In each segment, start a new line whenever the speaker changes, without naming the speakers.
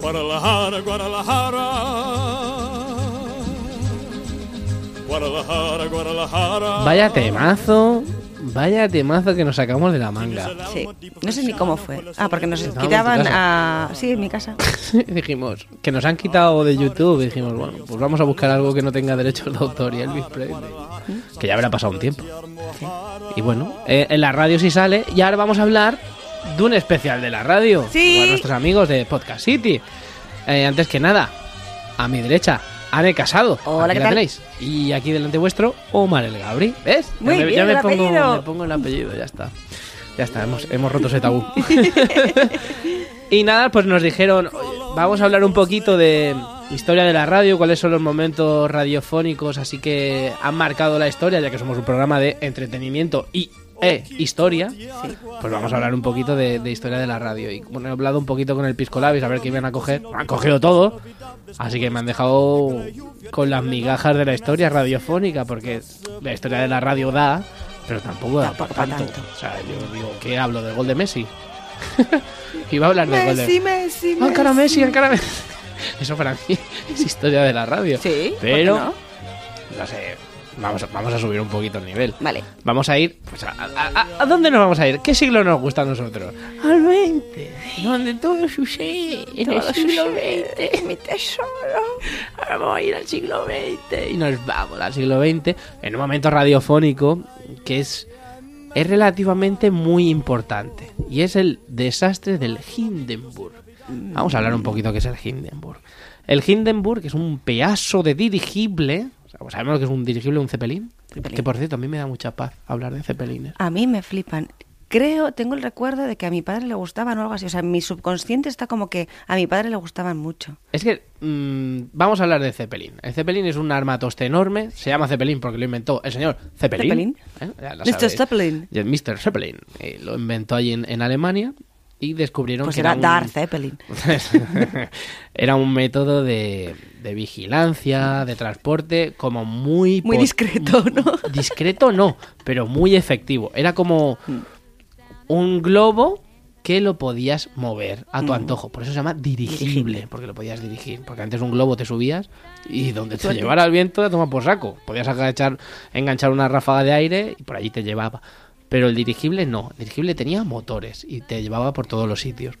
Guadalajara, Guadalajara. Guadalajara, Guadalajara.
Vaya temazo, vaya temazo que nos sacamos de la manga.
Sí. No sé ni cómo fue. Ah, porque nos
Estábamos en
quitaban
tu
a... Sí, en mi casa.
dijimos, que nos han quitado de YouTube, dijimos, bueno, pues vamos a buscar algo que no tenga derechos de autor y Elvis Presley. ¿Mm? Que ya habrá pasado un tiempo. Y bueno, eh, en la radio sí sale y ahora vamos a hablar de un especial de la radio.
Sí.
Con nuestros amigos de Podcast City. Eh, antes que nada, a mi derecha, Ane Casado.
Hola,
Aquí
¿qué
la
tal?
tenéis. Y aquí delante vuestro, Omar El Gabri. ¿Ves?
Muy
ya me,
bien
ya me
el
pongo,
apellido.
me pongo el apellido, ya está. Ya está, hemos, hemos roto ese tabú. y nada, pues nos dijeron, "Oye, vamos a hablar un poquito de historia de la radio, cuáles son los momentos radiofónicos, así que han marcado la historia, ya que somos un programa de entretenimiento y eh, historia, pues vamos a hablar un poquito de, de historia de la radio. Y bueno, he hablado un poquito con el Pisco Labis, a ver qué iban a coger. Me han cogido todo, así que me han dejado con las migajas de la historia radiofónica, porque la historia de la radio da, pero tampoco da para
Tampoco para
tanto.
tanto.
O sea, yo digo, ¿qué hablo del gol de Messi? Iba a hablar del gol de
Messi, Messi,
Ah, cara
Messi.
Messi, cara Messi. Eso para mí es historia de la radio.
Sí, ¿por qué
pero
no?
no sé. Vamos, a- vamos a subir un poquito el nivel.
Vale.
Vamos a ir. Pues, a, a- a- ¿a dónde nos vamos a ir? ¿Qué siglo nos gusta a nosotros? Al 20. Donde todo sucede. En el siglo XX.
Mi tesoro.
Ahora vamos a ir al siglo XX. Y nos vamos al siglo XX. En un momento radiofónico que es. Es relativamente muy importante. Y es el desastre del Hindenburg. Vamos a hablar un poquito qué es el Hindenburg. El Hindenburg es un pedazo de dirigible. o sea, pues ¿Sabemos lo que es un dirigible, un Zeppelin?
Zeppelin.
Que por cierto, a mí me da mucha paz hablar de Zeppelines.
A mí me flipan. Creo, tengo el recuerdo de que a mi padre le gustaban o algo así. O sea, mi subconsciente está como que a mi padre le gustaban mucho.
Es que mm, vamos a hablar de Zeppelin. El Zeppelin es un armatoste enorme. Se llama Zeppelin porque lo inventó el señor Zeppelin.
Zeppelin.
¿eh? Ya lo
Mr.
sabéis.
Zeppelin.
Y el Mr. Zeppelin. eh, lo inventó allí en, en Alemania y descubrieron
Pues
que
era
un-
Darth Zeppelin.
era un método de, de vigilancia, de transporte, como muy...
Muy
pot-
discreto, ¿no?
Discreto no, pero muy efectivo. Era como un globo que lo podías mover a tu antojo. Por eso se llama dirigible, porque lo podías dirigir. Porque antes un globo te subías y donde te llevara el viento te toma por saco. Podías agachar, enganchar una ráfaga de aire y por allí te llevaba. Pero el dirigible no. El dirigible tenía motores y te llevaba por todos los sitios.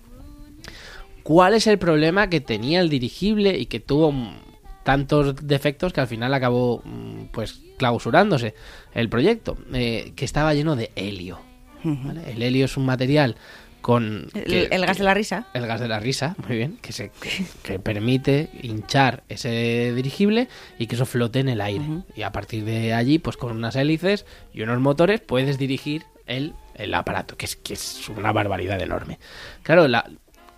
¿Cuál es el problema que tenía el dirigible y que tuvo mm, tantos defectos que al final acabó mm, pues clausurándose el proyecto? Eh, que estaba lleno de helio. ¿vale? El helio es un material con que-
El, el gas de la risa.
el gas de la risa, muy bien, que se que, que permite hinchar ese dirigible y que eso flote en el aire. Y a partir de allí, pues con unas hélices y unos motores puedes dirigir el, el aparato, que es, que es una barbaridad enorme. Claro, la-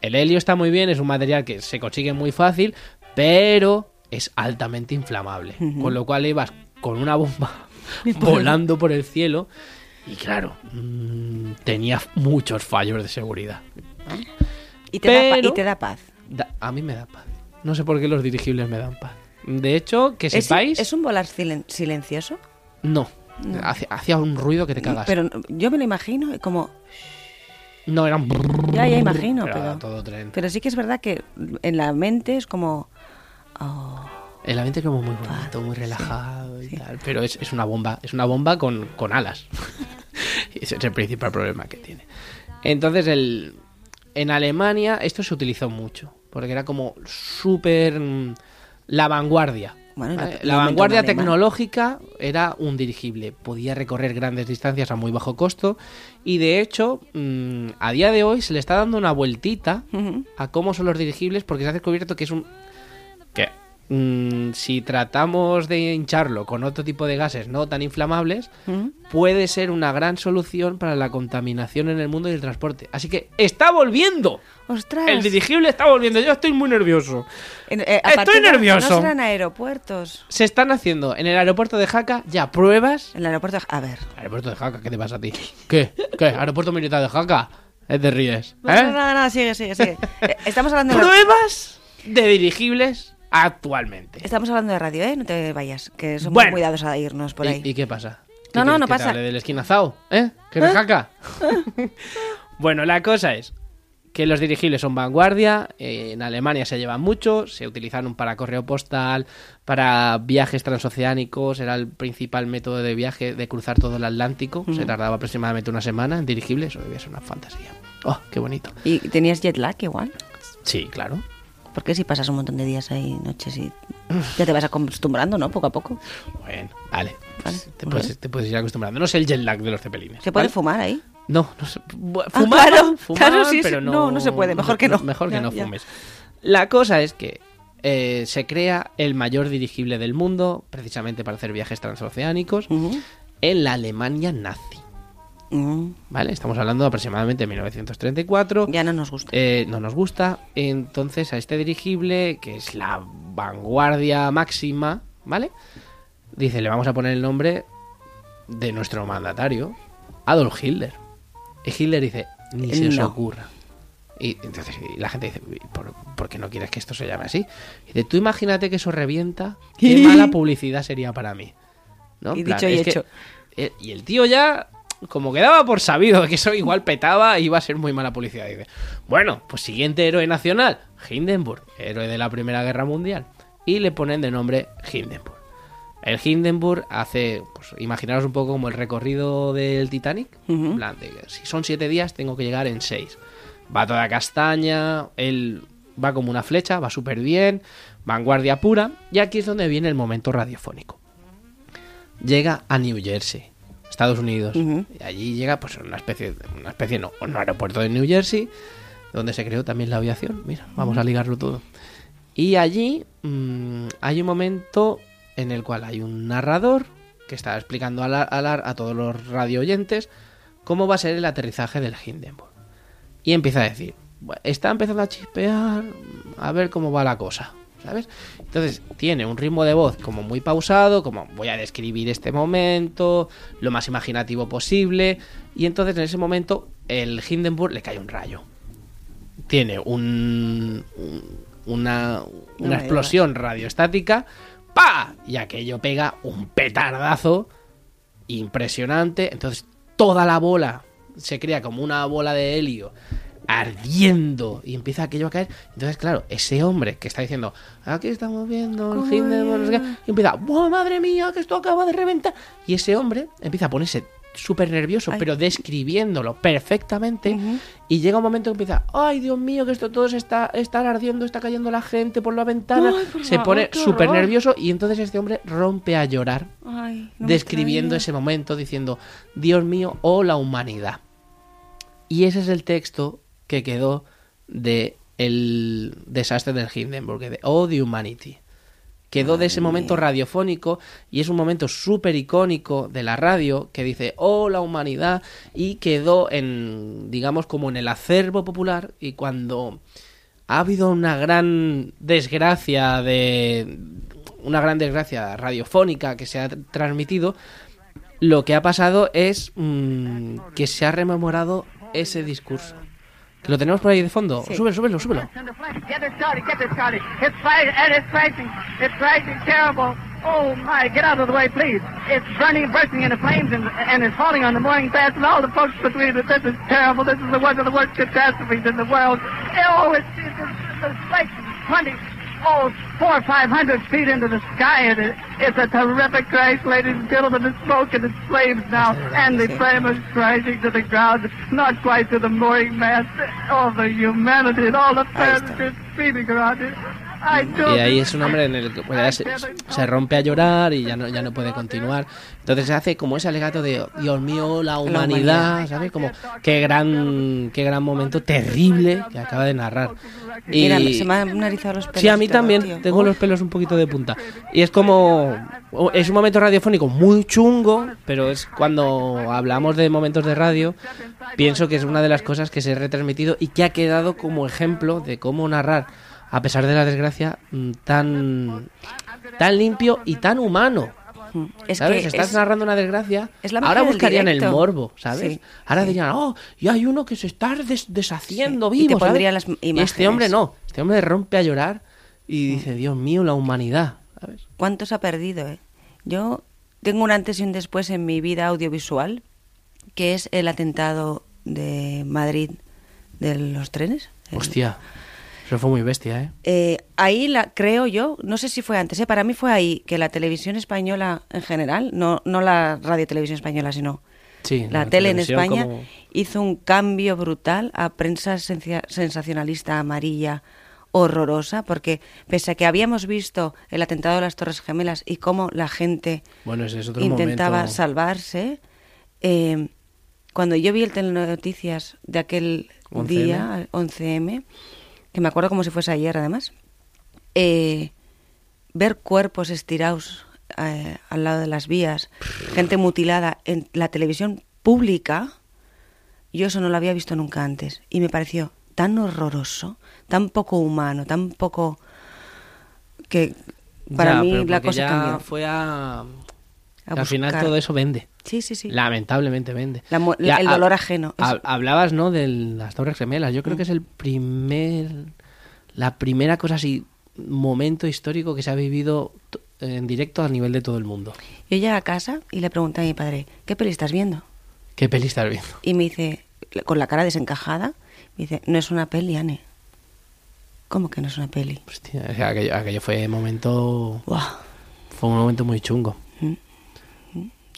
el helio está muy bien, es un material que se consigue muy fácil, pero es altamente inflamable. Con lo cual ibas con una bomba volando por el cielo. Y claro, mm, tenía muchos fallos de seguridad.
Y te, da, pa-
Pero-
y te da paz.
Da- a mí me da paz. No sé por qué los dirigibles me dan paz. De hecho, que
¿Es,
sepáis.
es un volar silen- silencioso?
No. Hacía, hacía un ruido que te cagas.
Pero yo me lo imagino como...
No, eran.
Ya, ya imagino,
Era
pero...
todo tren.
Pero sí que es verdad que en la mente es como... oh,
El ambiente como muy bonito, muy relajado y tal. Pero es, es una bomba. Es una bomba con, con alas. Ese es el principal problema que tiene. Entonces, el, en Alemania esto se utilizó mucho. Porque era como súper. mm, La vanguardia.
Bueno,
¿vale?
no-
la
no inventó
vanguardia
un alemán.
tecnológica era un dirigible. Podía recorrer grandes distancias a muy bajo costo. Y de hecho, mm, a día de hoy se le está dando una vueltita
Ujú.
a cómo son los dirigibles porque se ha descubierto que es un que mm, si tratamos de hincharlo con otro tipo de gases no tan inflamables,
¿Mm?
puede ser una gran solución para la contaminación en el mundo y el transporte. Así que está volviendo.
¡Ostras!
El dirigible está volviendo. Yo estoy muy nervioso.
En- eh,
Estoy
partir de-
nervioso.
No serán aeropuertos.
Se están haciendo en el aeropuerto de Jaca ya pruebas.
El aeropuerto... A ver.
Aeropuerto de Jaca, ¿qué te pasa a ti? ¿Qué? ¿Qué? Aeropuerto militar de Jaca. Eh, Te ríes.
No,
¿eh?
no, nada, nada, sigue, sigue, sigue. Eh, Estamos hablando de...
Pruebas de dirigibles actualmente.
Estamos hablando de radio, ¿eh? No te vayas, que somos
Bueno.
muy dados a irnos por
¿Y-
ahí.
¿Y, qué pasa? ¿Qué
No, no,
quieres que
no
te
pasa. ¿Eh?
hable del esquinazao, ¿eh? ¿Que me jaca? bueno, la cosa es que los dirigibles son vanguardia, eh, en Alemania se llevan mucho, se utilizaron para correo postal, para viajes transoceánicos, era el principal método de viaje de cruzar todo el Atlántico, se tardaba aproximadamente una semana en dirigibles, eso debía ser una fantasía. Oh, qué bonito.
¿Y tenías jet lag igual?
Sí, claro.
Porque si pasas un montón de días ahí, noches y ya te vas acostumbrando, ¿no? Poco a poco.
Bueno, vale. Pues,
Vale,
Te,
muy
puedes,
bien.
te puedes ir acostumbrando. No sé el jet lag de los cepelines.
¿Se puede
¿vale?
fumar ahí?
No, no se bu-
Ah,
fumar,
claro,
fumar,
claro, sí, sí.
pero no,
No, no se puede, mejor que no.
Mejor que
Ya,
no
ya.
fumes. La cosa es que eh, se crea el mayor dirigible del mundo, precisamente para hacer viajes transoceánicos,
Ujú.
en la Alemania nazi.
Mm,
¿Vale? Estamos hablando de aproximadamente 1934.
Ya no nos gusta.
Eh, no nos gusta. Entonces a este dirigible, que es la vanguardia máxima, ¿vale? Dice, le vamos a poner el nombre de nuestro mandatario, Adolf Hitler. Y Hitler dice, ni se os
No.
ocurra. Y entonces y la gente dice, "Uy, ¿por, por qué no quieres que esto se llame así? dice, tú imagínate que eso revienta, qué mala publicidad sería para mí. ¿no? En
Y dicho y
es que-
hecho.
eh, y el tío ya, como quedaba por sabido que eso igual petaba, iba a ser muy mala publicidad. Dice, bueno, pues siguiente héroe nacional, Hindenburg, héroe de la Primera Guerra Mundial. Y le ponen de nombre Hindenburg. El Hindenburg hace, pues imaginaros un poco como el recorrido del Titanic. en plan de, si son siete días, tengo que llegar en seis. Va toda castaña, él va como una flecha, va súper bien, vanguardia pura. Y aquí es donde viene el momento radiofónico llega a New Jersey, Estados Unidos.
Ujú.
Y allí llega, pues, una especie, una especie no, un aeropuerto de New Jersey, donde se creó también la aviación. Mira, vamos a ligarlo todo. Y allí mm, hay un momento en el cual hay un narrador que está explicando a, la- a la- a todos los radio oyentes cómo va a ser el aterrizaje del Hindenburg. Y empieza a decir, "Bueno, está empezando a chispear, a ver cómo va la cosa, ¿sabes? Entonces tiene un ritmo de voz como muy pausado, como voy a describir este momento, lo más imaginativo posible, y entonces en ese momento el Hindenburg le cae un rayo. Tiene un, un- una,
No
una
me
explosión radioestática, ¡pa! Y aquello pega un petardazo impresionante. Entonces, toda la bola se crea como una bola de helio ardiendo y empieza aquello a caer. Entonces, claro, ese hombre que está diciendo, aquí estamos viendo el Hindenburg", no sé qué, y empieza, ¡Buah, madre mía, que esto acaba de reventar! Y ese hombre empieza a ponerse súper nervioso,
Ay.
pero describiéndolo perfectamente.
Ujú.
Y llega un momento que empieza, ¡ay, Dios mío, que esto todo se está, está ardiendo, está cayendo la gente por la ventana!
Ay, por
se
favor,
pone
qué
súper
horror.
nervioso y entonces este hombre rompe a llorar
Ay, no me
describiendo ese
extraña.
momento, diciendo, Dios mío, oh la humanidad. Y ese es el texto que quedó de el desastre del Hindenburg, de Oh the Humanity. Quedó de ese momento radiofónico y es un momento súper icónico de la radio que dice Oh la humanidad y quedó en, digamos, como en el acervo popular y cuando ha habido una gran desgracia de una gran desgracia radiofónica que se ha tr- transmitido lo que ha pasado es mm, que se ha rememorado ese discurso que lo tenemos por ahí de fondo súbelo súbelo súbelo
Get this started, get this started. It's flashing, and it's flashing, it's flashing terrible. Oh my, get out of the way, please. It's burning, bursting into flames, and, and it's falling on the morning fast, and all the folks between that this is terrible. This is the one of the worst catastrophes in the world. Oh, it's, it's, it's, it's flashing, 20, oh, four or five hundred feet into the sky, and it, it's a terrific crash, ladies and gentlemen. The smoke and the flames now, and the flame is crashing to the ground, not quite to the mooring mast. Oh, the humanity and all the fantasies speeding around it. I do.
Y ahí es un hombre en el que pues, ya se, se rompe a llorar y ya no, ya no puede continuar. Entonces se hace como ese alegato de Dios mío, la humanidad,
humanidad.
¿sabes? Como qué gran, qué gran momento terrible que acaba de narrar. Y,
Mira, se me han narizado los pelos.
Sí, a mí
y todo,
también.
tío.
Tengo los pelos un poquito de punta. Y es como... o- Es un momento radiofónico muy chungo, pero es cuando hablamos de momentos de radio, pienso que es una de las cosas que se ha retransmitido y que ha quedado como ejemplo de cómo narrar, a pesar de la desgracia, mm, tan, tan limpio y tan humano.
Mm. Es
¿Sabes?
que
Estás
es-
narrando una desgracia.
es la magia
Ahora
del
buscarían el
directo.
morbo, ¿sabes?
Sí,
Ahora
sí.
dirían, oh, y hay uno que se está des- deshaciendo
Sí, y
vivo.
te
¿sabes?
pondría las m-
Y Este
imágenes.
hombre no. Este hombre rompe a llorar y dice, Dios mío, la humanidad. ¿Sabes?
¿Cuánto se ha perdido? eh? Yo tengo un antes y un después en mi vida audiovisual, que es el atentado de Madrid de los trenes. El-
Hostia, eso fue muy bestia, ¿eh?
Eh, ahí la creo yo, no sé si fue antes, ¿eh? para mí fue ahí que la televisión española en general, no, no la radio televisión española, sino
Sí,
la,
la
tele en
televisión
España,
como-
hizo un cambio brutal a prensa sencia- sensacionalista amarilla horrorosa, porque pese a que habíamos visto el atentado de las Torres Gemelas y cómo la gente
Bueno, ese es otro
intentaba
momento.
salvarse. eh, cuando yo vi el Telenoticias de aquel
11M.
día, 11M, que me acuerdo como si fuese ayer además, eh, ver cuerpos estirados eh, al lado de las vías, gente mutilada en la televisión pública, yo eso no lo había visto nunca antes. Y me pareció tan horroroso, tan poco humano, tan poco que para
Ya,
mí
pero
la
porque
cosa
ya
cambió.
fue a...
A
Al final
buscar.
todo eso vende.
Sí, sí, sí.
Lamentablemente vende.
La mu-
Ya,
el
hab-
dolor ajeno, eso.
hab- hablabas, ¿no? De las Torres Gemelas. Yo creo que es el primer. La primera cosa así. Momento histórico que se ha vivido t- en directo a nivel de todo el mundo.
Yo llegué a casa y le pregunté a mi padre, ¿qué peli estás viendo?
¿Qué peli estás viendo?
Y me dice, con la cara desencajada, me dice, no es una peli, Anne. ¿Cómo que no es una peli?
Hostia, o sea, aquello, aquello fue momento.
Buah.
Fue un momento muy chungo.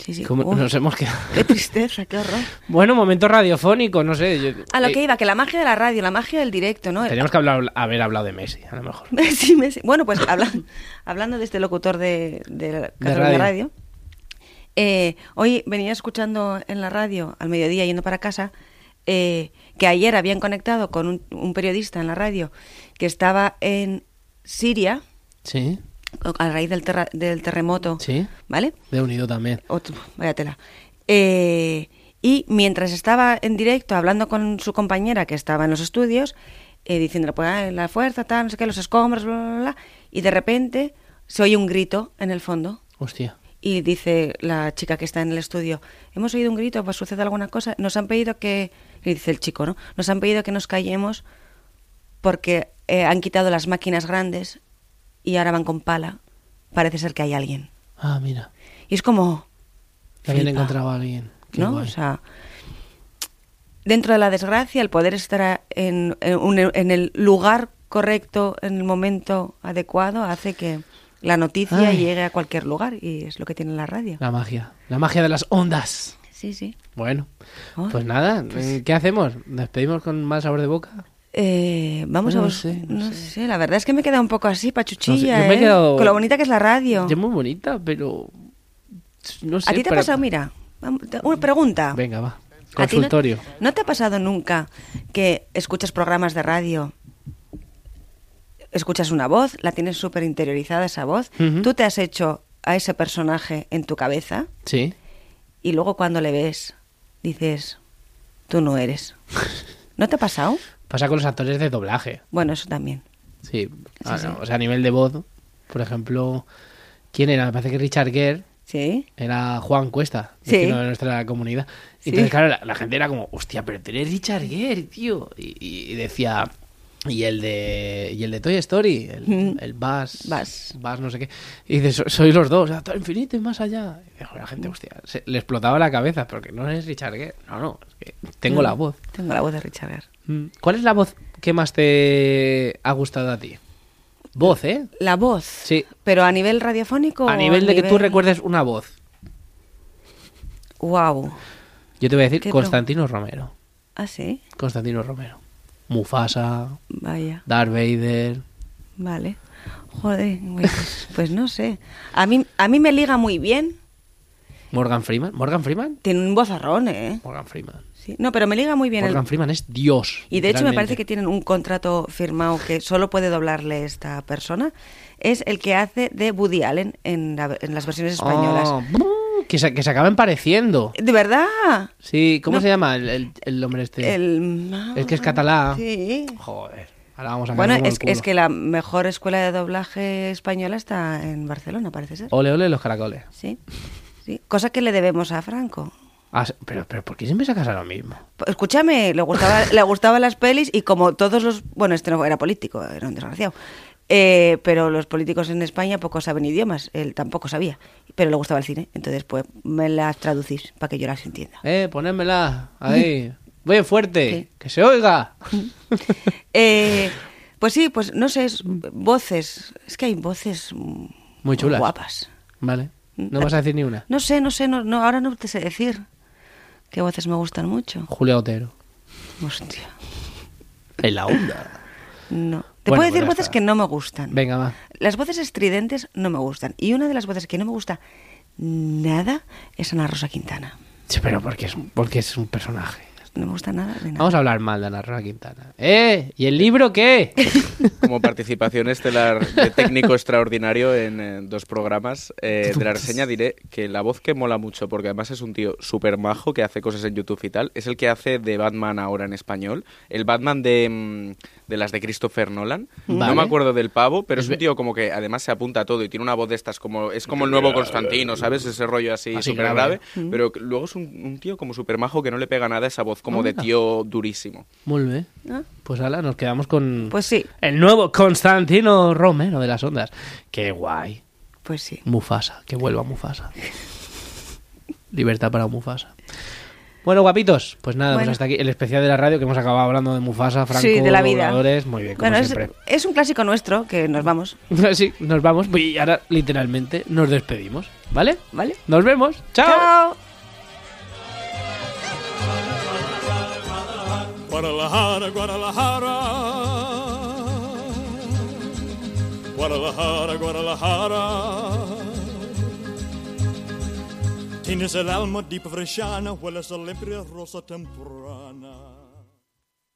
Sí, sí.
¿Cómo
Uf,
nos hemos quedado?
Qué tristeza, qué horror.
Bueno, momento radiofónico, no sé. yo-
A lo
eh,
que iba, que la magia de la radio, la magia del directo, ¿no? El-
Teníamos que hablar, haber hablado de Messi, a lo mejor.
Sí, me- sí. Bueno, pues hablan- hablando de este locutor de, de la Cataluña
radio.
radio, eh, hoy venía escuchando en la radio al mediodía yendo para casa eh, que ayer habían conectado con un, un periodista en la radio que estaba en Siria
Sí,
o- a raíz del, terra- del terremoto,
sí.
¿vale?
De unido también.
Otro- vaya tela. Eh, y mientras estaba en directo hablando con su compañera que estaba en los estudios, eh, diciéndole, pues ah, la fuerza, tal, no sé qué, los escombros, bla, bla, bla, bla, y de repente se oye un grito en el fondo.
Hostia.
Y dice la chica que está en el estudio, hemos oído un grito, pues sucede alguna cosa. Nos han pedido que, y dice el chico, ¿no? Nos han pedido que nos callemos porque eh, han quitado las máquinas grandes y ahora van con pala. Parece ser que hay alguien.
Ah, mira.
Y es como,
También
Flipa.
encontraba a alguien. Qué
¿no?
guay.
O sea, dentro de la desgracia, el poder estar en, en un- en el lugar correcto, en el momento adecuado, hace que la noticia
Ay. Ah.
llegue a cualquier lugar y es lo que tiene la radio.
La magia. La magia de las ondas.
Sí, sí.
Bueno,
Ay,
pues nada, eh, ¿qué hacemos? ¿Despedimos con más sabor de boca?
Eh, vamos
Ah, No
a
sé,
buscar.
no
No, sé. la verdad es que me he quedado un poco así, pachuchilla,
No sé, yo me he
¿eh?
quedado-
con lo bonita que es la radio.
Es muy bonita, pero. No sé.
¿A ti te ha
para-
pasado, mira, vamos, te- una pregunta?
Venga, va.
¿A ti no-
Consultorio.
No, te ha pasado nunca que escuchas programas de radio? Escuchas una voz, la tienes súper interiorizada esa voz.
Ujú.
Tú te has hecho a ese personaje en tu cabeza
Sí.
y luego cuando le ves dices, tú no eres. ¿No te ha pasado?
Pasa con los actores de doblaje.
Bueno, eso también.
Sí. Ah,
sí.
no, O sea, a nivel de voz, por ejemplo, ¿quién era? Me parece que Richard Gere
¿Sí?
era Juan Cuesta,
Sí.
vecino de nuestra comunidad. Y
Sí.
entonces, claro, la, la gente era como, hostia, pero tú eres Richard Gere, tío. Y, y- y decía, y el de y el de Toy Story, el,
Mm.
el Buzz,
Buzz.
Buzz no sé qué. Y dice, "So- sois los dos, hasta el infinito y más allá. Y dijo la gente, hostia, se- le explotaba la cabeza, porque no eres Richard Gere. No, no, es que
Mm.
tengo la voz.
Tengo la voz de Richard Gere.
Mm. ¿Cuál es la voz que más te ha gustado a ti? Voz, ¿eh?
La voz.
Sí.
Pero a nivel radiofónico.
A nivel de que tú recuerdes una voz.
Wow.
Yo te voy a decir
¿Qué pro-
Constantino Romero.
Ah, sí.
Constantino Romero. Mufasa,
Vaya.
Darth Vader.
Vale. Joder, güey, pues, pues no sé. A mí, a mí me liga muy bien.
Morgan Freeman. ¿Morgan Freeman?
Tiene un vozarrón, ¿eh?
Morgan Freeman.
Sí. No, pero me liga muy bien. el-
Morgan Freeman es Dios.
Y de hecho me
literalmente.
parece que tienen un contrato firmado que solo puede doblarle esta persona. Es el que hace de Woody Allen en, la- en las versiones españolas.
Ah, que, se, que se acaban pareciendo.
De verdad.
Sí, ¿cómo
No.
se llama el, el- el hombre este?
El...
El que es catalán.
Sí.
Joder. Ahora vamos a
Bueno,
caer como el
es, es
culo.
que la mejor escuela de doblaje española está en Barcelona, parece ser.
Ole, ole los caracoles.
Sí. sí. Cosa que le debemos a Franco.
Ah, sí, pero, pero ¿por qué siempre sacas a lo mismo?
Escúchame, le gustaba, le gustaban las pelis y como todos los, bueno, este no era político, era un desgraciado. Eh, pero los políticos en España poco saben idiomas, él tampoco sabía, pero le gustaba el cine, entonces pues me las traducís para que yo las entienda.
Eh, ponédmela ahí. Bien fuerte, que se oiga.
Eh, pues sí, pues no sé, es- voces. Es que hay voces mm,
Mm. Muy chulas.
guapas.
Vale. No vas a decir ni una.
No sé, no sé, no, no, ahora no te sé decir qué voces me gustan mucho.
Julia Otero.
Hostia,
En la onda.
no. Te
Bueno,
puedo
pues
decir
ya
voces
está.
que no me gustan.
Venga, va.
Las voces estridentes no me gustan. Y una de las voces que no me gusta nada es Ana Rosa Quintana.
Sí, pero porque es, porque es un personaje.
No me gusta nada de nada.
Vamos a hablar mal de Ana Rosa Quintana. ¿Eh? ¿Y el libro qué?
Como participación estelar de técnico extraordinario en eh, dos programas eh, de la reseña diré que la voz que mola mucho, porque además es un tío súper majo que hace cosas en YouTube y tal, es el que hace de Batman ahora en español. El Batman de, mm, de las de Christopher Nolan. No
Vale.
me acuerdo del pavo, pero es
Es
un tío como que además se apunta a todo y tiene una voz de estas como... Es como el nuevo Constantino, ¿sabes? Ese rollo así
Así
súper
grave.
grave. Pero que luego es un, un tío como súper majo que no le pega nada esa voz como
Ah,
de
mira.
tío durísimo.
Muy bien.
Ah.
Pues ala, nos quedamos con
Pues sí,
el nuevo Constantino Romero de las ondas. Qué guay.
pues
Mm,
sí.
Mufasa, que vuelva Mufasa. Libertad para Mufasa. Bueno, guapitos, pues nada, pues
Bueno.
hasta aquí el especial de la radio que hemos acabado hablando de Mufasa, Franco,
sí, de la vida.
dobladores, muy bien, como
Bueno, es,
siempre.
es un clásico nuestro que nos vamos,
Sí, nos vamos y ahora literalmente nos despedimos, ¿vale?
¿vale?
Nos vemos, chao.
¡Chao!
Guadalajara, Guadalajara. Guadalajara, Guadalajara. Tienes el alma di provenzana, hueles a limpia rosa temprana.